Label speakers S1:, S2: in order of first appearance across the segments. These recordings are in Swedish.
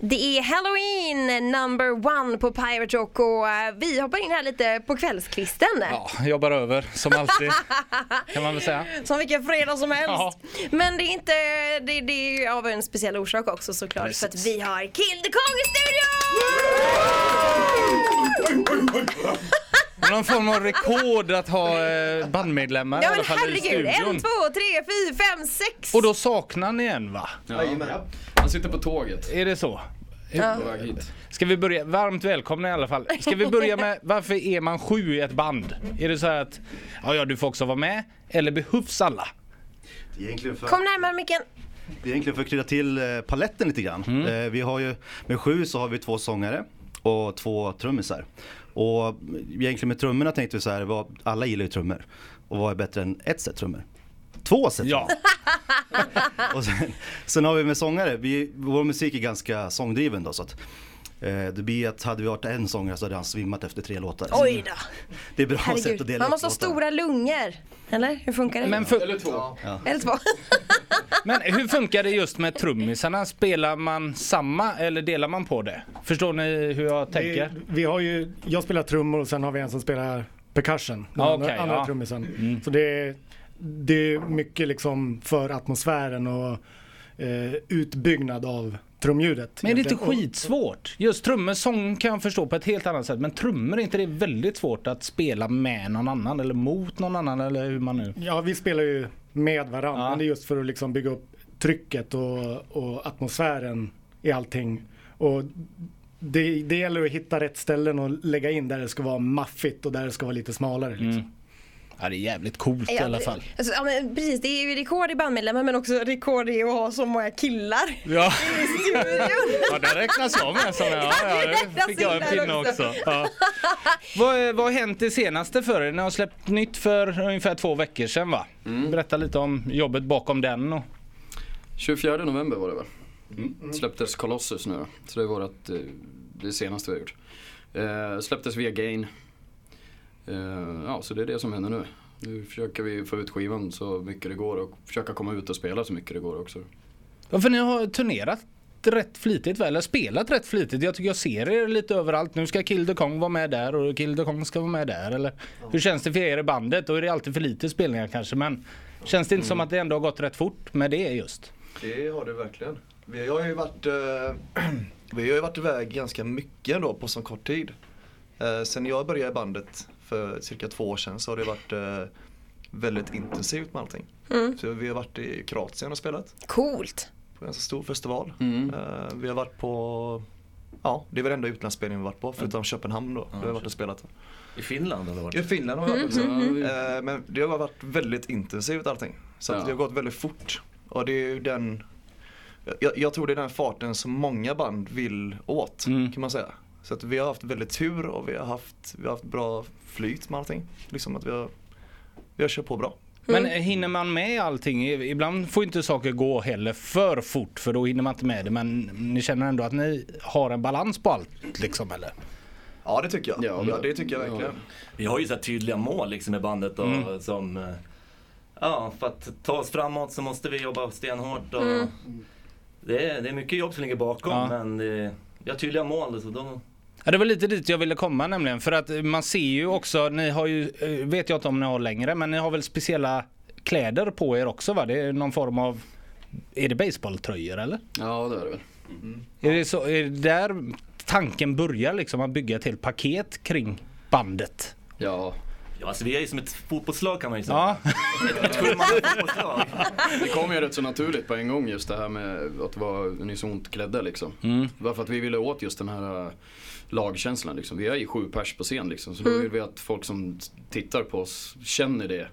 S1: Det är Halloween number one på Pirate Rock och eh, vi hoppar in här lite på kvällskvisten.
S2: Ja, jobbar över som alltid kan man väl säga.
S1: Som vilken fredag som helst.
S2: Ja.
S1: Men det är inte, det, det är ju av en speciell orsak också såklart
S2: Precis.
S1: för att vi har Kill the Kong i studion!
S2: Någon form av rekord att ha eh, bandmedlemmar
S1: Ja
S2: i
S1: men
S2: alla fall i
S1: herregud,
S2: studion.
S1: en, två, tre, fyra, fem, sex!
S2: Och då saknar ni en va?
S3: Ja. Han sitter på tåget
S2: Är det så?
S3: på väg hit.
S2: Ska vi börja, varmt välkomna i alla fall. Ska vi börja med varför är man sju i ett band? Är det så här att, ja, ja du får också vara med, eller behövs alla?
S4: Det är egentligen för,
S1: Kom närmare micken.
S2: Mm.
S4: det är egentligen för att krydda till eh, paletten lite grann. Eh, vi har ju, med sju så har vi två sångare och två trummisar. Och egentligen med trummorna tänkte vi så här, vad, alla gillar ju trummor. Och vad är bättre än ett set trummor? Två set
S2: Ja,
S4: Och sen, sen har vi med sångare, vi, vår musik är ganska sångdriven då så att eh, det blir att hade vi varit en sångare så hade han svimmat efter tre låtar.
S1: Oj då.
S4: Det är bra sätt att
S1: Herregud.
S4: dela
S1: Man
S4: upp
S1: måste ha stora
S4: låtarna.
S1: lungor. Eller hur funkar det?
S2: men, fu-
S3: Eller två.
S1: Eller två.
S2: men hur funkar det just med trummisarna? Spelar man samma eller delar man på det? Förstår ni hur jag tänker?
S5: Vi, vi har ju, jag spelar trummor och sen har vi en som spelar percussion, den
S2: Ah,
S5: andra,
S2: okej,
S5: andra
S2: ja. Mm.
S5: trummisen. Så det är, det är mycket liksom för atmosfären och eh, utbyggnad av trumljudet.
S2: Men är det inte
S5: egentligen. Och-
S2: skitsvårt? Just trummor, sång kan jag förstå på ett helt annat sätt. Men trummor, är inte det väldigt svårt att spela med någon annan eller mot någon annan eller hur man nu...
S5: Ja, vi spelar ju med varandra,
S2: Ja.
S5: men det är just för att liksom bygga upp trycket och, och atmosfären i allting. Och det, det gäller att hitta rätt ställen och lägga in där det ska vara maffigt och där det ska vara lite smalare. Liksom.
S2: Ja, det är jävligt coolt i alla fall.
S1: Alltså, ja, men precis, det är ju rekord i bandmedlemmar men också rekord i att ha så många killar
S2: Ja,
S1: i studion.
S2: ja det räknas jag med som jag.
S1: Ja, det räknas in där också.
S2: Ja. vad, eh, vad har hänt det senaste för er? Ni har släppt nytt för ungefär två veckor sedan va? Berätta lite om jobbet bakom den. Och...
S3: 24 november var det väl? Mm. Släpptes Colossus nu då. Så det är vårat, eh, det senaste vi har gjort. Eh, släpptes via Gain. Eh, ja, så det är det som händer nu. Nu försöker vi få ut skivan så mycket det går och försöka komma ut och spela så mycket det går också.
S2: Ja, för ni har turnerat rätt flitigt väl, eller spelat rätt flitigt. Jag tycker jag ser er lite överallt. Nu ska Kill the Kong vara med där och Kill the Kong ska vara med där. Eller hur känns det för er i bandet? Då är det alltid för lite spelningar kanske men känns det inte som att det ändå har gått rätt fort med det just?
S6: Det har det verkligen. Vi har ju varit, eh, vi har ju varit iväg ganska mycket ändå på så kort tid. Eh, sen jag började i bandet för cirka två år sedan så har det varit eh, väldigt intensivt med allting. Så vi har varit i Kroatien och spelat
S1: Coolt.
S6: på en ganska stor festival.
S3: Mm.
S6: Eh, vi har varit på, ja det var den enda utlandsspelningen vi varit på förutom Köpenhamn då. vi har varit och spelat.
S7: I Finland eller vad?
S6: I Finland har vi varit också.
S3: mm,
S6: Eh, Men det har varit väldigt intensivt allting. Så att
S3: Ja.
S6: det har gått väldigt fort. Och det är ju den jag, jag tror det är den farten som många band vill åt
S2: Mm.
S6: kan man säga. Så att vi har haft väldigt tur och vi har haft, vi har haft bra flyt med allting. Liksom att vi har, vi har kört på bra.
S2: Men eh, hinner man med allting? I- Ibland får inte saker gå heller för fort för då hinner man inte med det. Men ni känner ändå att ni har en balans på allt liksom eller?
S6: Ja det tycker jag.
S3: Ja,
S6: Ja,
S3: men-
S6: det tycker jag
S3: ja.
S6: verkligen.
S7: Vi har ju så här tydliga mål liksom i bandet och
S2: Mm.
S7: som... eh, Ja, för att ta oss framåt så måste vi jobba stenhårt och... Det, är, det är mycket jobb som ligger bakom
S2: Mm. Ja.
S7: men det, vi har tydliga mål så då...
S2: Ja, det var lite dit jag ville komma nämligen. För att eh, man ser ju också, ni har ju, eh, vet jag inte om ni har längre, men ni har väl speciella kläder på er också va? Det är någon form av, är det baseballtröjor eller?
S3: Ja, det är det väl.
S2: Är, det så, är det där tanken börjar liksom att bygga ett helt paket kring bandet?
S3: Ja,
S7: Ja, alltså vi är ju som ett fotbollslag kan man ju säga.
S2: Ja,
S7: Ett sjumannarsfotbollslag.
S3: det kom ju rätt så naturligt på en gång just det här med att vara unisont klädda liksom. Varför att vi ville åt just den här eh, lagkänslan liksom. Vi är ju sju pers på scen liksom. Så
S1: Mm.
S3: då vill vi att folk som tittar på oss känner det.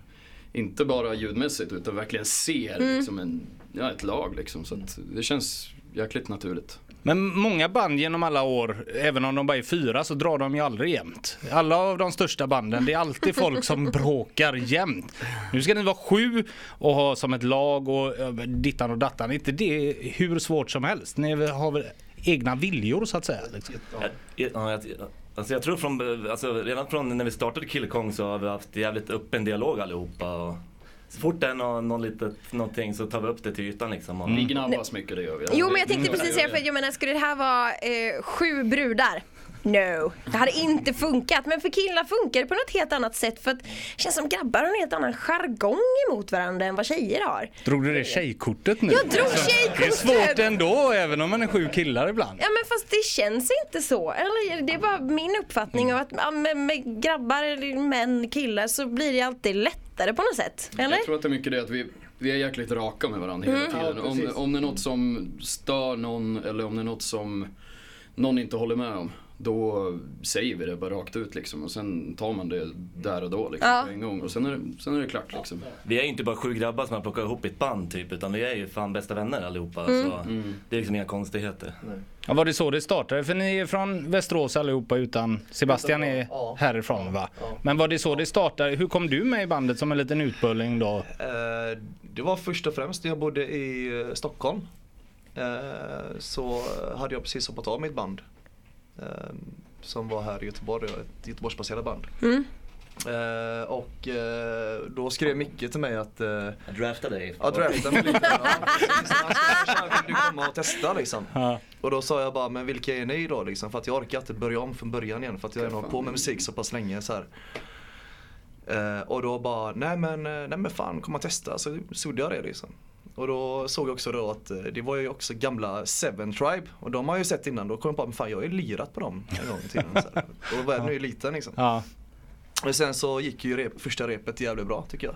S3: Inte bara ljudmässigt utan verkligen ser
S1: Mm.
S3: liksom en, ja, ett lag liksom. Så att det känns jäkligt naturligt.
S2: men många band genom alla år, även om de bara är fyra, så drar de ju aldrig jämnt. Alla av de största banden, det är alltid folk som bråkar jämt. Nu ska ni vara sju och ha som ett lag och eh, dittan och dattan. Inte det hur svårt som helst. Ni har väl egna viljor så att säga. Liksom.
S7: Ja, ja, jag, alltså jag tror från, alltså redan från när vi startade Kill Kong så har vi haft jävligt öppen dialog allihopa. Och Så fort det är någon, någon litet, någonting så tar vi upp det till ytan liksom. Och,
S3: Vi
S2: Mm.
S3: gnabbas mycket, det gör vi.
S1: Jo men jag tänkte
S3: Mm.
S1: precis säga, för jag menar skulle det här vara eh, sju brudar? No, det hade inte funkat. Men för killar funkar det på något helt annat sätt för att det känns som grabbar har en helt annan jargong emot varandra än vad tjejer har.
S2: Drog du det tjejkortet nu?
S1: Jag drog
S2: Det är
S1: tjejkortet!
S2: svårt ändå även om man är sju killar ibland.
S1: Ja men fast det känns inte så. Eller det är bara min uppfattning av att ja, med, med grabbar, män, killar så blir det alltid lättare på något sätt. Eller?
S3: Jag tror att det är mycket det att vi, vi är jäkligt raka med varandra hela tiden.
S5: Ja,
S3: om,
S5: precis.
S3: om det är något som stör någon eller om det är något som någon inte håller med om. Då säger vi det bara rakt ut liksom och sen tar man det där och då liksom,
S1: Ja.
S3: på en gång och sen är det, sen är det klart liksom.
S7: Vi är ju inte bara sju grabbar som har plockat ihop i ett band typ, utan vi är ju fan bästa vänner allihopa.
S1: Mm.
S7: Så det är liksom inga konstigheter.
S2: Ja, var det så det startade? För ni är från Västerås allihopa utan Sebastian
S6: Utan jag,
S2: är
S6: ja.
S2: härifrån va?
S6: ja.
S2: Men var det så det startade? Hur kom du med i bandet som en liten utbulling då?
S6: Eh, Det var först och främst när jag bodde i eh, Stockholm. Eh, Så hade jag precis hoppat av mitt band. eh, Som var här i Göteborg, ett Göteborgsbaserat band. Eh, Och eh, då skrev Micke till mig att eh,
S7: Jag draftade dig.
S6: Ja, drafta mig lite. Ja, precis. Han sa, "Tja, vill du komma och testa liksom?
S2: Ja.
S6: Och då sa jag bara, men vilka är ni då liksom? För att jag orkar inte börja om från början igen för att jag har hållit på med musik så pass länge så här. Eh, och då bara, nej men, eh, nej men fan kom och testa. Så såg jag det liksom. Och då såg jag också då att eh, det var ju också gamla Seven Tribe och de har jag ju sett innan. Då kom jag på, men fan jag har ju lirat på dem en gång i tiden. Så här. Och då var jag ju liten liksom.
S2: Ja.
S6: Och sen så gick ju rep, första repet jävligt bra tycker jag.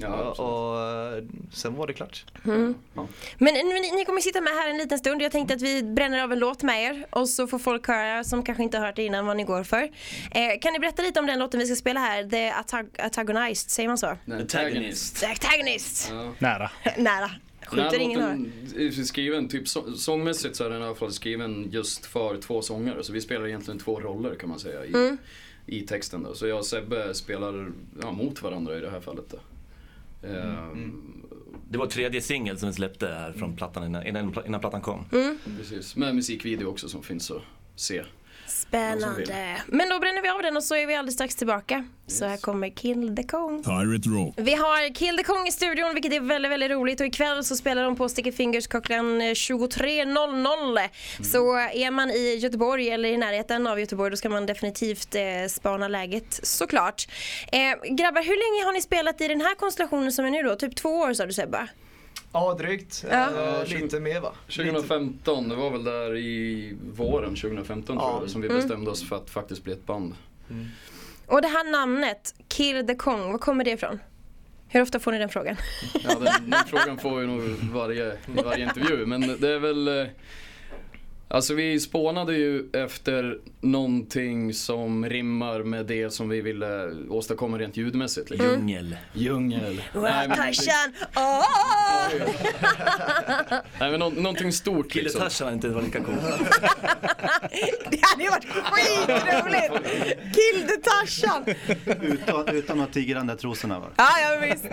S3: Ja,
S6: och, och eh, sen var det klart.
S1: Men ni, ni kommer sitta med här en liten stund. Jag tänkte att vi bränner av en låt med er och så får folk höra som kanske inte har hört det innan vad ni går för. Eh, kan ni berätta lite om den låten vi ska spela här? The Attag- Antagonist, säger man så?
S3: Nej,
S7: Antagonist.
S1: The Antagonist!
S3: Ja.
S2: Nära.
S1: Nära.
S3: Den här
S1: Skjuter ingen hör.
S3: låten är skriven, typ så- sångmässigt så är den i alla fall skriven just för två sångare. Så vi spelar egentligen två roller kan man säga i,
S1: Mm.
S3: i texten då. Så jag och Sebbe spelar ja, mot varandra i det här fallet då. Ehm,
S7: Det var tredje singel som vi släppte här från plattan innan, innan, pla- innan plattan kom.
S1: Mm.
S3: Precis, med musikvideo också som finns att se. Någon som
S1: Spännande. Men då bränner vi av den och så är vi alldeles strax tillbaka. Så här kommer Kill the Kong.
S8: Pirate Rock.
S1: Vi har Kill the Kong i studion vilket är väldigt, väldigt roligt och ikväll så spelar de på Sticky Fingers klockan eh, 23.00.
S3: Mm.
S1: Så eh, är man i Göteborg eller i närheten av Göteborg då ska man definitivt eh, spana läget såklart. Eh, grabbar, hur länge har ni spelat i den här konstellationen som är nu då? Typ två år sa du Sebbe?
S6: Ja, drygt.
S1: Ja.
S6: Eh, lite mer va?
S3: 2015, det var väl där i våren 2015 tror
S6: Ja.
S3: jag, som vi
S1: Mm.
S3: bestämde oss för att faktiskt bli ett band.
S1: Och det här namnet, Kill the Kong, var kommer det ifrån? Hur ofta får ni den frågan?
S3: Ja, den, den frågan får vi nog varje, i varje intervju. Men det är väl... eh, Alltså vi spånade ju efter någonting som rimmar med det som vi ville åstadkomma rent ljudmässigt. Liksom.
S7: Djungel.
S3: Djungel.
S1: Mm.
S3: Nej men,
S1: Watashan, åh!
S3: nej, men nå- någonting stort
S7: Kille
S3: liksom.
S7: Tarzan har inte varit lika cool.
S1: Det hade ju varit skitroligt! Kill the Tarzan!
S4: Utan, utan att tigra den där trosorna va?
S1: Ja, ja visst.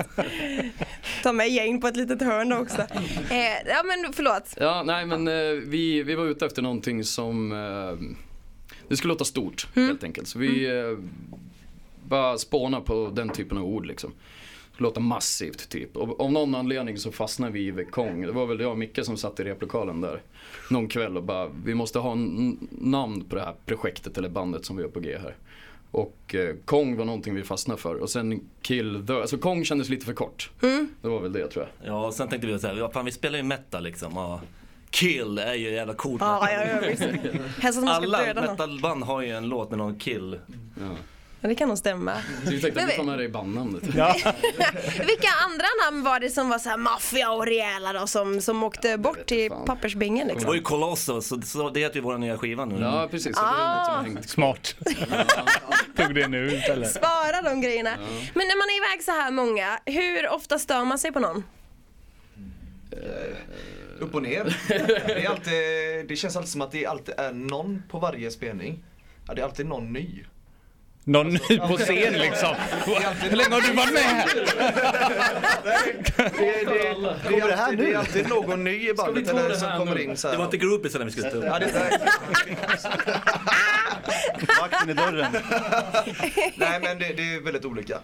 S1: Ta med gäng på ett litet hörn också. Eh, ja men förlåt.
S3: Ja, nej men eh, vi, vi var ute efter någonting som eh, Det skulle låta stort helt enkelt. Så vi eh, bara spånar på den typen av ord liksom. Låta massivt typ. Och av någon anledning så fastnade vi i The Kong. Det var väl jag och Micke som satt i replokalen där någon kväll och bara vi måste ha en namn på det här projektet eller bandet som vi har på G här. Och eh, Kong var någonting vi fastnade för och sen Kill the, alltså Kong kändes lite för kort. Det var väl det tror jag.
S7: Ja, och sen tänkte vi så här, ja, fan vi spelar ju metal liksom. Och kill är ju jävla coolt.
S1: Ja, Ah, ja, ja visst. Helst att man ska
S7: Alla
S1: döda någon.
S7: metalband har ju en låt med någon kill.
S1: Ja, det kan nog stämma.
S3: Så vi tänkte
S1: Men
S3: att vi
S1: vi-
S3: tar med det i bandnamnet.
S1: Vilka andra namn var det som var så här maffia och rejäla då som, som åkte bort till
S3: fan.
S1: pappersbingen
S7: Det var
S1: liksom?
S7: ju Colossus, så, så det heter ju vår nya skiva nu.
S3: Ja precis, så det är något som har hängt
S2: Smart. Tog det nu eller?
S1: Spara de grejerna. Men när man är iväg så här många, hur ofta stör man sig på någon?
S6: Upp och ner. Det, är alltid, det känns alltid som att det alltid är någon på varje spelning. Ja, det är alltid någon ny.
S2: Någon ny på scen liksom. Hur länge har du varit med här?
S6: Det, det, det, är, alltid, det är alltid någon ny i bandet
S3: ta det
S6: eller,
S3: här
S6: som kommer
S3: nu?
S6: in så här.
S7: Det var inte groupies när vi skulle stå upp.
S6: Ja, det, nej,
S4: Vakten i dörren.
S6: nej men det, det är väldigt olika.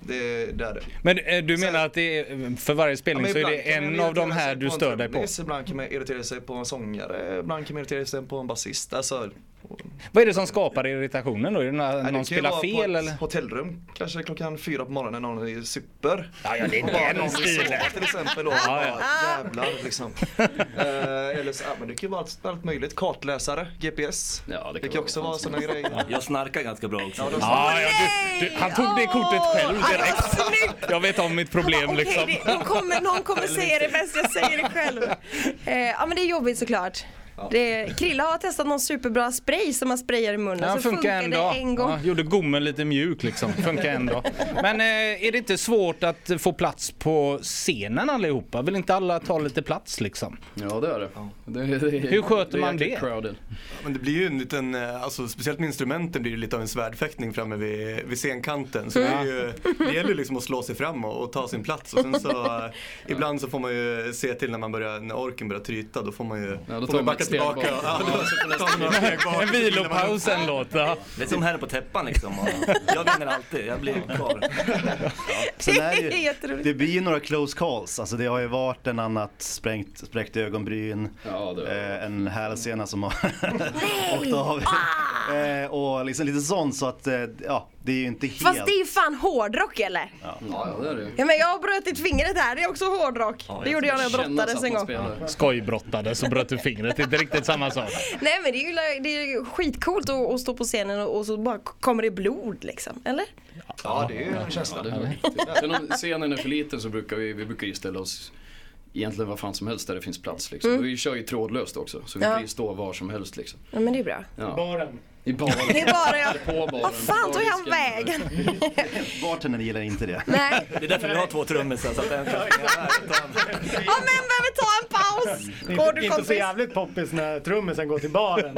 S6: Det, det är det.
S2: Men eh, du
S6: Så-
S2: menar att det är, för varje spelning
S6: Ja,
S2: så
S6: men
S2: är
S6: ibland
S2: det
S6: kan man
S2: en av de
S6: irritera
S2: här
S6: sig
S2: du
S6: på en
S2: stör dig på?
S6: trummis, Ibland kan man irritera sig på en sångare, ibland kan man irritera sig på en basist. Alltså, och-
S2: Vad är det som skapar irritationen då? Är det när
S6: Nej, det
S2: någon
S6: kan ju
S2: spelar
S6: vara på
S2: fel
S6: ett
S2: eller?
S6: hotellrum kanske klockan fyra på morgonen när någon är super.
S2: Ja, ja, det
S6: Och bara
S2: är den
S6: någon vill
S2: stilen.
S6: sova till exempel. Och
S2: Ja, ja.
S6: bara, jävlar liksom. Eh, eller så, ja, men det kan ju vara allt, allt möjligt. Kartläsare, GPS.
S3: Ja, det
S6: det
S3: kan
S6: kan
S3: vara
S6: också
S3: vad
S6: vara
S3: fan
S6: sådana grejer.
S7: Jag snarkar ganska bra också.
S2: Ja, ja, du, du, han tog det kortet själv direkt. Jag vet om mitt problem
S1: Okej,
S2: liksom.
S1: det- de kommer, någon kommer säga det bäst, jag säger det själv. Eh, ja men det är jobbigt såklart. Det, Krilla har testat någon superbra spray som man sprayar i munnen.
S2: Den
S1: så funkar
S2: funkar
S1: det
S2: en dag.
S1: en gång.
S2: Ja, gjorde gommen lite mjuk liksom. Funkar en dag. Men eh, är det inte svårt att få plats på scenen allihopa? Vill inte alla ta lite plats liksom?
S3: Ah! Ja det är det. det, det
S2: Hur sköter man
S3: jäkligt
S2: det?
S3: Crowded.
S8: Men det blir ju en liten, eh, alltså, speciellt med instrumenten blir det lite av en svärdfäktning framme vid, vid scenkanten. Så det, är ju, det gäller ju liksom att slå sig fram och, och ta sin plats. Och sen så, eh, ibland så får man ju se till när, man börjar, när orken börjar tryta, då får man ju
S3: Ja, då
S8: får
S3: tar
S8: man
S3: man
S8: backa
S3: ett steg
S8: tillbaka.
S3: bak.
S8: Ja, då tar man några steg bak.
S2: En vilopaus ändå. Ja.
S7: Det är som här på täppan liksom. Och jag vinner alltid, jag blir kvar.
S4: Sen är
S1: Det är
S4: det, ju,
S1: jätteroligt.
S4: det blir ju några close calls, alltså det har ju varit en annat sprängt, spräckt ögonbryn,
S3: Ja, det har
S4: eh, en hälsena som har åkt av.
S1: Ah!
S4: Eh, och liksom lite sånt så att, eh, ja, det är ju inte helt...
S1: Fast det är ju fan hårdrock eller?
S3: Ja, ja det är det ju.
S1: Ja men jag har brutit fingret här, det är också hårdrock. det gjorde jag när jag brottades en gång.
S3: spelar.
S2: Skojbrottade så bröt du fingret. Det är inte riktigt samma sak.
S1: Nej men det är ju, la- det är ju skitcoolt att, att stå på scenen och, och så bara k- kommer det blod liksom, eller?
S6: Ja, det är ju en känsla.
S3: Ja, det är riktigt. Sen om scenen är för liten så brukar vi, vi brukar ju ställa oss egentligen vad fan som helst där det finns plats liksom. Och vi kör ju trådlöst också så vi
S1: Ja.
S3: kan ju stå var som helst liksom.
S1: Ja men det är bra.
S3: Ja.
S5: Baren.
S3: I
S1: Det
S3: baren.
S1: är bara jag.
S3: På baren.
S1: Vad fan tog han
S3: Bardisken.
S1: vägen?
S4: Bartendern gillar inte det.
S1: Nej.
S7: Det är därför vi har två trummisar. Så att en kan springa här och ta en
S1: Ja men behöver ta en paus. Går
S5: Inte,
S1: du
S5: inte så
S1: kompis?
S5: jävligt poppis när trummisen går till baren.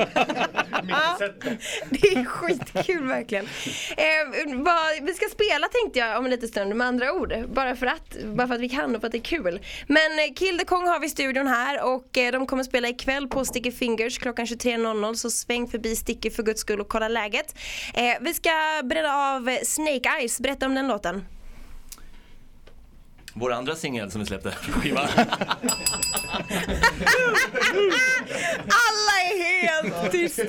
S5: Mitt i sättet.
S1: Det är skitkul verkligen. Eh, vad, vi ska spela tänkte jag om en liten stund med andra ord. Bara för att, bara för att vi kan och för att det är kul. Men eh, Kill the Kong har vi i studion här och eh, de kommer spela ikväll på Sticky Fingers klockan 23.00 så sväng förbi Sticky för guds skull och kolla läget. Eh, vi ska bredda av eh, Snake Eyes, berätta om den låten.
S7: Vår andra singel som vi släppte, skiva.
S1: Alla är helt tysta.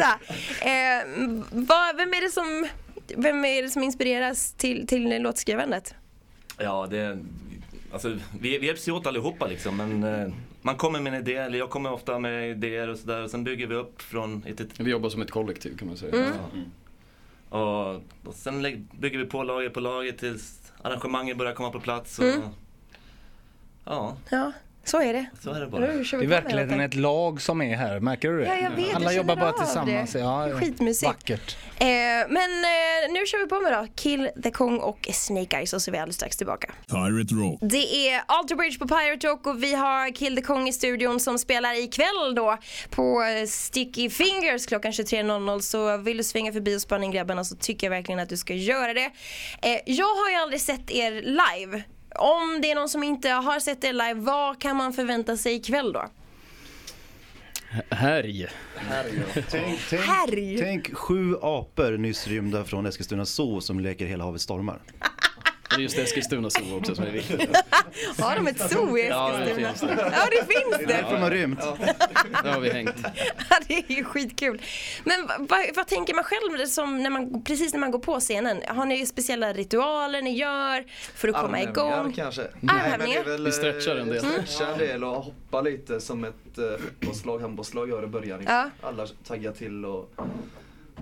S1: Eh, vad, vem, är det som, vem är det som inspireras till, till låtskrivandet?
S7: Ja, det... Alltså, vi, vi hjälps ju åt allihopa liksom, men eh, man kommer med en idé, eller jag kommer ofta med idéer och sådär, och sen bygger vi upp från ett, ett
S3: Vi jobbar som ett kollektiv kan man säga.
S7: och, och sen lä- bygger vi på lager på lager tills arrangemangen börjar komma på plats. Och,
S1: Mm.
S7: Ja,
S1: Ja, så är det.
S7: så är det bara.
S1: Nu kör
S2: Det
S1: vi
S2: är
S1: på med låten.
S2: verkligen ett lag som är här. Märker du det?
S1: Ja, jag vet, jag
S2: Alla jobbar
S1: känner
S2: bara
S1: av
S2: tillsammans.
S1: det.
S2: Ja,
S1: Det är skitmysigt.
S2: Vackert.
S1: Eh, men eh, nu kör vi på med då. Kill the Kong och Snake Eyes och så är vi alldeles strax tillbaka.
S9: Pirate Rock.
S1: Det är Alter Bridge på Pirate Rock och vi har Kill the Kong i studion som spelar ikväll då på eh, Sticky Fingers klockan 23.00 så vill du svänga förbi och spana in grabbarna så tycker jag verkligen att du ska göra det. Eh, jag har ju aldrig sett er live. Om det är någon som inte har sett er live, vad kan man förvänta sig ikväll då?
S3: Härj.
S4: Tänk, tänk,
S1: Härj.
S4: tänk sju apor nyss rymda från Eskilstuna zoo som leker Hela havet stormar.
S3: Det är just Eskilstuna zoo också som är viktigt.
S1: Har de ett zoo i
S3: Ja, det
S1: Eskilstuna?
S3: finns det.
S1: Ja, det finns det!
S4: Därför de har rymt.
S3: Där har vi hängt.
S1: Ja, det är ju skitkul. Men vad, vad, vad tänker man själv det som när man, precis när man går på scenen? Har ni speciella ritualer ni gör för att komma
S6: Armhävningar
S1: igång?
S6: kanske?
S1: Armhävningar?
S6: men det är väl,
S3: Vi stretchar en del.
S6: eh, Stretchar en del och hoppa lite som ett eh, fotbollslag, handbollslag gör i början. Liksom.
S1: Ja.
S6: Alla taggar till och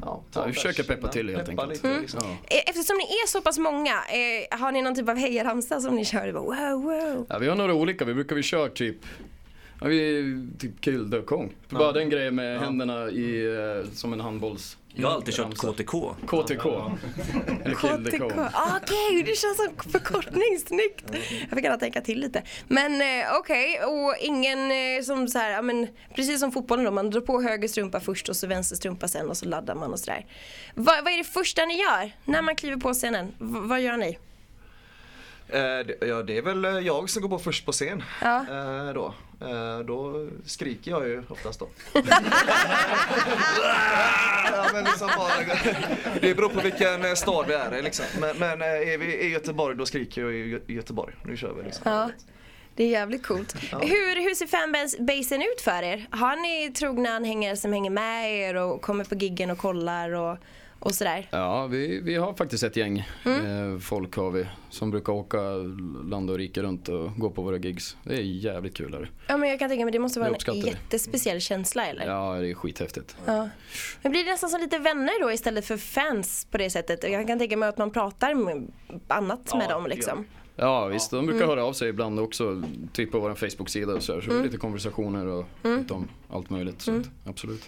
S6: ja, ta
S3: Ja, vi försöker
S6: bärsen,
S3: peppa till helt
S6: peppa
S3: enkelt. Mm.
S6: Lite, liksom.
S3: Ja.
S1: E- Eftersom ni är så pass många, eh, har ni någon typ av hejaramsa som ni kör? Det bara, Wow, wow.
S3: Ja, vi har några olika, vi brukar vi köra typ Ja, vi typ kill the kong. Bara den grejen med händerna i, eh, som en handbolls...
S7: Jag har alltid kört KTK.
S3: KTK. Eller kill the
S1: KTK.
S3: kong.
S1: Ah, Okej, det känns som förkortning. Snyggt. Jag fick gärna tänka till lite. Men eh, okej, och ingen eh, som så här, ja, men, precis som fotbollen då, man drar på höger strumpa först och så vänster strumpa sen och så laddar man och sådär. Va, vad är det första ni gör när man kliver på scenen? V, vad gör ni?
S6: Eh, det- ja, det är väl eh, jag som går på först på scen.
S1: Ja.
S6: Eh, då. Eh, då skriker jag ju oftast då. ja, men liksom, det beror på vilken eh, stad vi är i liksom. Men, men eh, är vi i Göteborg då skriker jag i Gö- Göteborg. Nu kör vi liksom.
S1: Ja, det är jävligt coolt. Hur, hur ser fanbasen ut för er? Har ni trogna anhängare som hänger med er och kommer på giggen och kollar och, och sådär?
S3: Ja, vi, vi har faktiskt ett gäng eh, folk har vi som brukar åka land och rike runt och gå på våra gigs. Det är jävligt kul. Här.
S1: Ja men jag kan tänka mig det måste vara
S3: Jag
S1: en
S3: uppskattar det.
S1: jättespeciell känsla eller?
S3: Ja, det är skithäftigt.
S1: Ja. Men blir det nästan som lite vänner då istället för fans på det sättet? Jag kan tänka mig att man pratar med annat med dem liksom.
S3: Ja, visst. De brukar höra av sig ibland också, typ på vår Facebook-sida och så, här. så det är lite konversationer och lite om allt möjligt. Så att, absolut.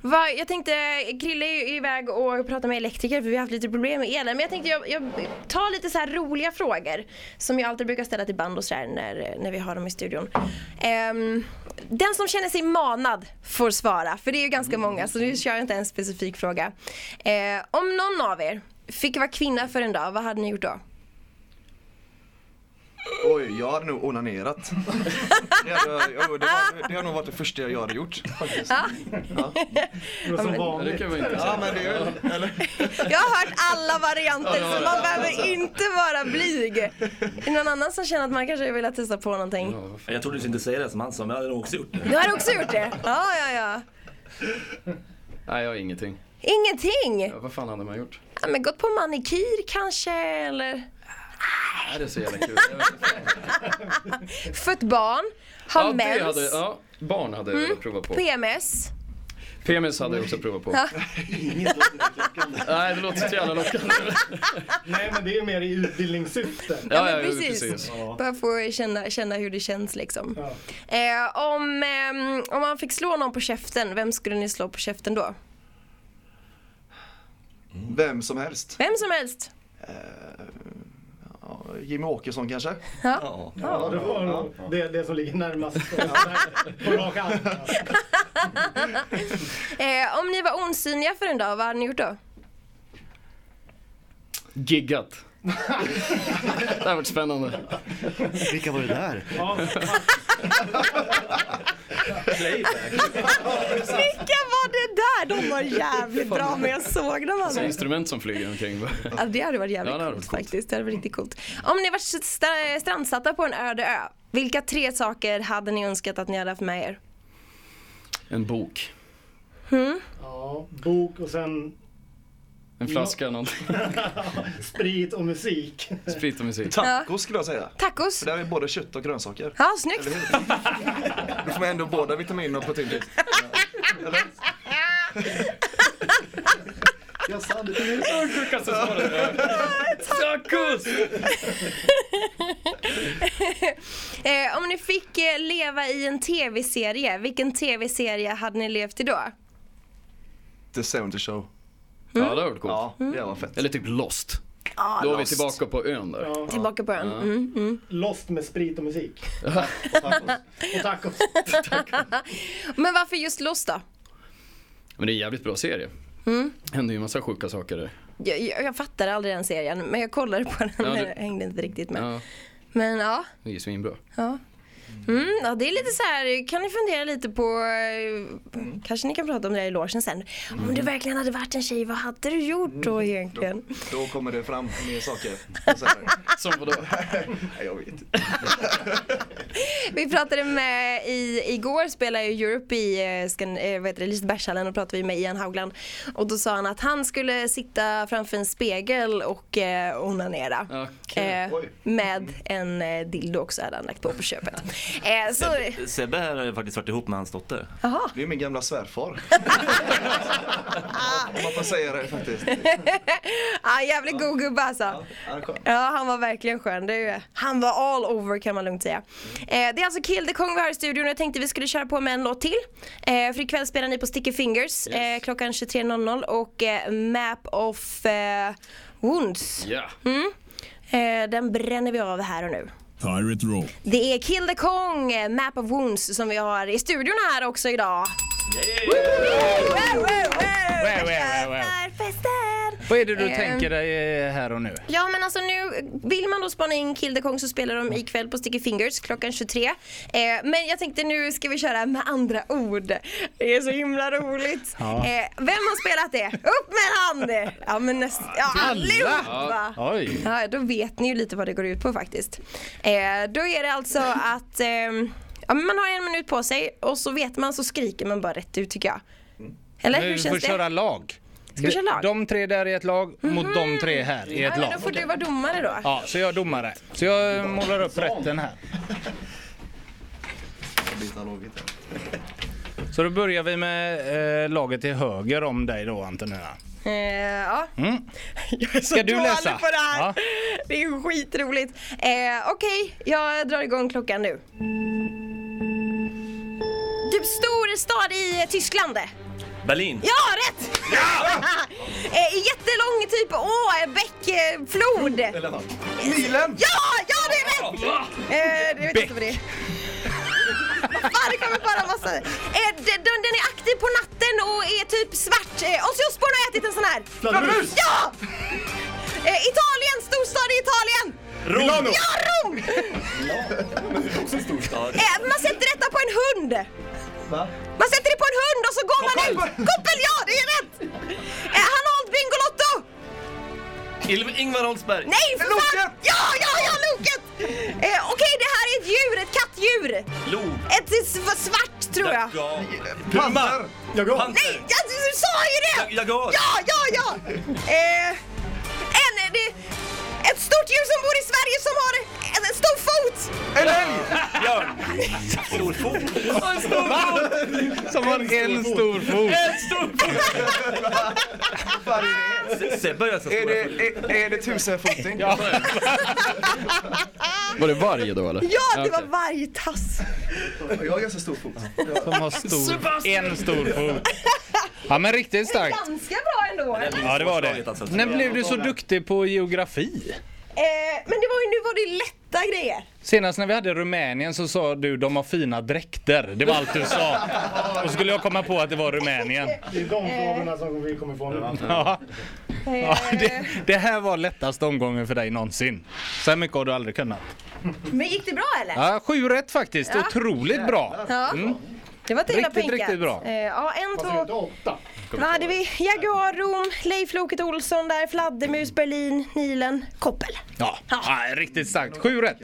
S1: Vad- jag tänkte, Krille är ju iväg och pratar med elektriker för vi har haft lite problem med elen. Men jag tänkte jag, jag tar lite så här roliga frågor som jag alltid brukar ställa till band och sådär när, när vi har dem i studion. Ehm, den som känner sig manad får svara, för det är ju ganska många så nu kör jag inte en specifik fråga. Eh, om någon av er fick vara kvinna för en dag, vad hade ni gjort då?
S6: Oj, jag hade nog onanerat. Det hade, jag- jo, det, var, det hade nog varit det första jag hade gjort faktiskt.
S5: Det var som
S3: Ja, det
S5: vanligt.
S3: kan vara intressant.
S6: Ja men det är väl, eller?
S1: Jag har hört alla varianter så man behöver inte vara blyg. Är det någon annan som känner att man kanske vill testa på någonting?
S7: Jag trodde du skulle säga det som han sa, men jag hade nog också gjort det.
S1: Du har också gjort det? Ja, ja, ja.
S3: Nej, jag har ingenting.
S1: Ingenting?
S3: Ja, vad fan hade man gjort?
S1: Ja, men gått på manikyr kanske eller
S3: Nej, Äh, det är så jävla kul.
S1: fött barn, ha
S3: ja, det
S1: mens,
S3: hade, ja, barn hade jag
S1: Mm.
S3: velat prova på.
S1: PMS.
S3: PMS hade jag också provat på. Nej, det låter så jävla lockande.
S5: Nej men det är mer i utbildningssyfte.
S1: Ja, men precis. Bara få känna, känna hur det känns liksom.
S5: Ja.
S1: Eh, om, ehm, om man fick slå någon på käften, vem skulle ni slå på käften då?
S6: Vem som helst.
S1: Vem som helst.
S6: Ja, Jimmy Åkesson kanske?
S7: Ja.
S5: Ja, det var nog det, det som ligger närmast oss där, på rak arm. alltså.
S1: Eh, om ni var osynliga för en dag, vad hade ni gjort då?
S3: Giggat. Det har varit spännande.
S4: Vilka var det där?
S5: Ja,
S1: Vilka var det där? De var jävligt bra men jag såg dem
S3: Så
S1: aldrig.
S3: instrument som flyger omkring.
S1: Ja, det hade varit jävligt
S3: Ja, det hade
S1: coolt
S3: varit coolt.
S1: faktiskt. Det hade varit riktigt coolt. Om ni var st- strandsatta på en öde ö, vilka tre saker hade ni önskat att ni hade haft med er?
S3: En bok.
S5: ja, bok och sen
S3: En flaska, någonting.
S5: sprit och musik.
S3: Sprit och musik.
S6: Tacos skulle jag säga.
S1: Tacos?
S6: För där är både kött och grönsaker.
S1: Ja, snyggt!
S6: Då får man ändå båda vitaminer och proteiner.
S2: Tacos!
S1: Eh, om ni fick eh, leva i en tv-serie, vilken tv-serie hade ni levt i då?
S6: The 70 show.
S3: Ja, det har varit coolt.
S6: Ja, det var fett.
S3: Eller typ Lost.
S1: Ah,
S3: Då är vi
S6: Lost.
S3: tillbaka på ön där.
S5: Ja,
S1: Tillbaka på ön. Mm, mm.
S5: lost med sprit och musik. Och tacos.
S1: Men varför just Lost då?
S3: Men det är en jävligt bra serie.
S1: Mm.
S3: Händer ju en massa sjuka saker där.
S1: Jag, jag, jag fattade aldrig den serien, men jag kollade på den
S3: Ja,
S1: men
S3: du-
S1: jag hängde inte riktigt med.
S3: Ja,
S1: Men ja.
S3: det är ju svinbra.
S1: Ja. Mm, ja, det är lite så här, kan ni fundera lite på, eh, kanske ni kan prata om det här i logen sen. Om du verkligen hade varit en tjej, vad hade du gjort då egentligen?
S6: Då kommer det fram mer saker. Och så här,
S3: Som vadå?
S6: Nej, jag vet inte.
S1: Vi pratade med, i, igår spelade ju Europe i eh, Skan, eh, vad heter det, Lisebergshallen och pratade vi med Ian Haugland. Och då sa han att han skulle sitta framför en spegel och eh, onanera.
S3: Ja,
S1: Eh,
S6: Oj.
S1: med en eh, dildo också hade han lagt på på köpet. Eh, så,
S7: Sebbe här har ju faktiskt varit ihop med hans dotter.
S1: jaha.
S6: Det är min gamla svärfar. Om Man får säga det faktiskt.
S1: Ah, jävligt god gubbe alltså.
S6: Ja, det är skönt.
S1: Ja, han var verkligen skön. Det är ju, han var all over kan man lugnt säga. Eh, det är alltså Kill the Kong vi har i studion och jag tänkte vi skulle köra på med en låt till. Eh, för ikväll spelar ni på Sticky Fingers eh, klockan 23.00 och eh, Map of eh, Wounds.
S3: Ja.
S1: Eh, den bränner vi av här och nu.
S9: Pirate Rock.
S1: Det är Kill the Kong, eh, Map of Wounds som vi har i studion här också idag. Wow, wow, wow.
S2: wow, wow, wow.
S1: Öppnar festen.
S2: Vad är det du
S1: Eh.
S2: tänker dig eh, här och nu?
S1: Ja men alltså nu, vill man då spana in Kill the Kong så spelar de ikväll på Sticky Fingers klockan 23. Eh, men jag tänkte nu ska vi köra med andra ord. Det är så himla roligt.
S2: Ja.
S1: Eh, vem har spelat det? Upp med en hand! Ja men nästan, ja allihopa!
S2: Oj.
S1: Ja, då vet ni ju lite vad det går ut på faktiskt. Eh, då är det alltså att ehm, ja, men man har en minut på sig och så vet man så skriker man bara rätt ut tycker jag. Eller hur
S2: Mm. Nu får
S1: känns det?
S2: köra lag.
S1: Ska vi köra lag? Mhm.
S2: De tre där är ett lag mot de tre här är
S1: ja,
S2: ett
S1: men
S2: lag.
S1: då får du vara domare då.
S2: Ja, så jag är domare. Så jag eh, målar upp rätten här. Så då börjar vi med eh, laget till höger om dig då Antonina.
S1: Eh, ja.
S2: Mm.
S1: Jag är så
S2: Ska du
S1: dålig
S2: läsa?
S1: på det här.
S2: Ja.
S1: Det är ju skitroligt. Eh, Okej, jag drar igång klockan nu. Typ stor stad i eh, Tyskland.
S7: Berlin.
S1: Ja, rätt! eh, jättelång typ å, bäck, eh, flod. Nilen! Ja, ja det är rätt! Eh, det vet inte vad det är. Vad Fan, det kommer bara massa. Eh, den, den den är aktiv på natten och är typ svart. Eh, Ozzy Osbourne har ätit en sån här.
S4: Fladdermus!
S1: Ja! Eh, Italien, storstad i Italien.
S2: Milano!
S1: Ja, Rom! Eh, man sätter detta på en hund.
S6: Va?
S1: Man sätter det på en hund och så går man ut. Koppel, ja det är rätt! Eh, han har hållit Bingolotto.
S7: Il- Ingvar Oldsberg.
S1: Nej, för fan! Ja, ja, ja, Loket! Eh, Okej, det här är ett djur, ett kattdjur.
S7: Lo.
S1: Ett s- svart tror jag.
S7: Jaga-
S6: Panter!
S1: Nej,
S7: Panter.
S1: jag, du sa ju det!
S7: Jagar.
S1: Ja, ja, ja! Eh, en, det, ett stort djur som bor i Sverige som har en, en stor fot!
S7: Björn. Storfot.
S2: Som har en stor fot.
S7: Sebbe har ju så
S6: Är
S7: stora
S6: det,
S7: fötter.
S6: är, är det tusenfoting?
S3: Var det varg då eller?
S1: Ja, det var vargtass.
S6: Jag har ganska stor fot.
S2: Som har stor, en stor fot. Ja men riktigt starkt.
S1: Ganska bra ändå. eller?
S2: Ja det var
S7: Svårslaget, alltså.
S2: det. När blev du så duktig på geografi?
S1: Eh, men det var ju, nu var det ju lätta grejer.
S2: Senast när vi hade Rumänien så sa du de har fina dräkter. Det var allt du sa. Och så skulle jag komma på att det var Rumänien.
S5: Det är de frågorna som vi kommer få nu.
S2: Ja.
S1: Eh,
S2: Ja, det, det här var lättaste omgången för dig någonsin. Så här mycket har du aldrig kunnat.
S1: Men gick det bra eller?
S2: Ja, sju rätt faktiskt.
S1: Ja.
S2: Otroligt bra.
S1: Ja. Det var till
S2: Riktigt, riktigt bra.
S1: Eh, ja, en,
S5: Fast det är inte
S1: två.
S5: åtta.
S1: Vad hade vi? Jaguar, Rom, Leif Loket Olsson där, fladdermus, Berlin, Nilen, koppel.
S2: Ja, ja riktigt starkt. Sju rätt.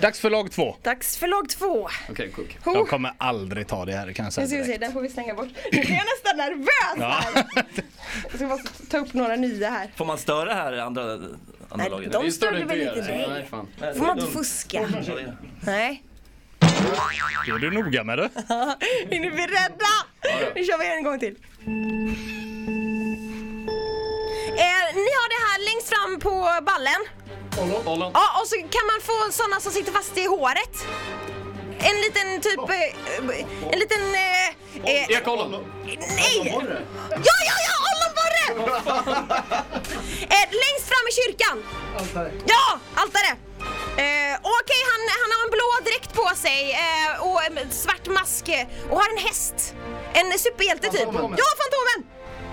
S2: Dags för lag två.
S1: Dags för lag två.
S3: Okej, cook.
S1: Ho.
S2: Jag kommer aldrig ta det här kan jag säga
S1: Jag Uh. ska se,
S2: direkt.
S1: den får vi slänga bort. Nu blir jag nästan nervös
S2: Ja.
S1: här. Jag ska bara ta upp några nya här.
S7: Får man störa här i andra, andra
S1: Nej,
S7: laget?
S1: de
S3: Vi
S1: störde
S3: störde inte
S1: väl inte
S3: er.
S1: dig?
S3: Nej, fan.
S7: Nej, det
S1: Får
S7: är
S1: man inte
S7: dumt.
S1: fuska?
S7: Ja, ja.
S1: Nej.
S2: Då är du noga med det.
S1: Är ni beredda? Nu kör vi en gång till. Eh, ni har det här längst fram på ballen.
S3: Ollon.
S1: Ja, och så kan man få sådana som sitter fast i håret. En liten typ... Eh, en liten... Eh, eh,
S3: Ekollon.
S1: nej! Ja, ja, ja! Ollonborre! eh, längst fram i kyrkan. Ja, altare. Eh, Okej, han, han har en blå dräkt på sig eh, och en svart mask eh, och har en häst. En superhjälte typ. Ja, Fantomen!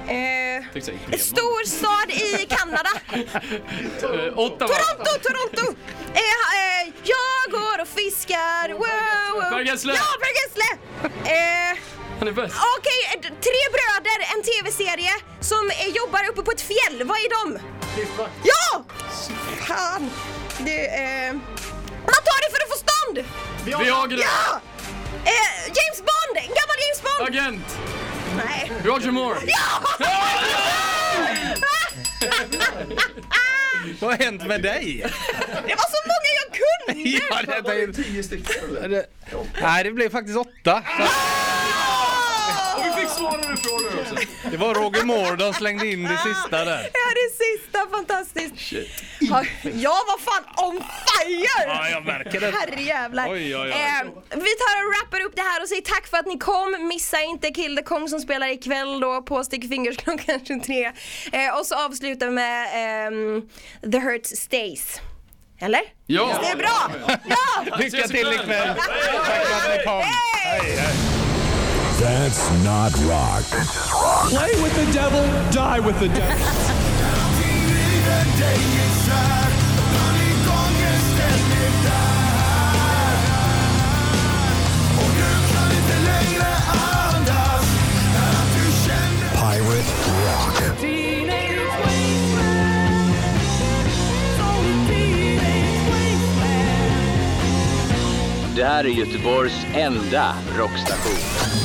S1: Eh,
S3: Tyckte jag gick
S1: en
S3: igenom.
S1: stor stad i Kanada.
S2: Eh, Åtta var
S1: Toronto, Toronto! Eh, eh, jag går och fiskar, wow, wow.
S3: Per Gessle.
S1: Ja, Per Gessle! Eh,
S3: Han är bäst.
S1: Okej, eh, d- tre bröder, en tv-serie som eh, jobbar uppe på ett fjäll. Vad är de? Ja! Fan! Det, eh, man tar det för att få stånd!
S3: Viagra.
S1: Ja! Eh, James Bond! En gammal James Bond!
S3: Agent.
S1: Nej.
S3: Roger Moore.
S2: Vad har hänt med dig?
S1: Det var så många jag kunde!
S2: Ja, det,
S6: Var det
S2: det,
S6: tio stycken eller?
S2: det, nej, det blev faktiskt åtta.
S1: Ah!
S3: Vi fick svårare frågor också.
S2: Det var Roger Moore de slängde in det sista där.
S1: Ja, det sista fantastiskt. Ja, jag var fan on fire!
S2: Ja, jag märker det.
S1: Herrejävlar.
S2: Oj, oj, oj.
S1: Eh, vi tar och rappar upp det här och säger tack för att ni kom. Missa inte Kill the Kong som spelar ikväll då på Stick Fingers klockan 23. Eh, och så avslutar vi med ehm, The Hurt Stays. Eller?
S3: Ja.
S1: Det är bra! Ja!
S2: Lycka till ikväll. Tack för att ni kom.
S1: Hej!
S9: That's not rock.
S10: Play with the devil, die with the devil.
S9: Känner dig isär Panikångesten är där Och du kan inte längre andas Är att du känner Pirate Rock
S10: Det här är Göteborgs enda rockstation.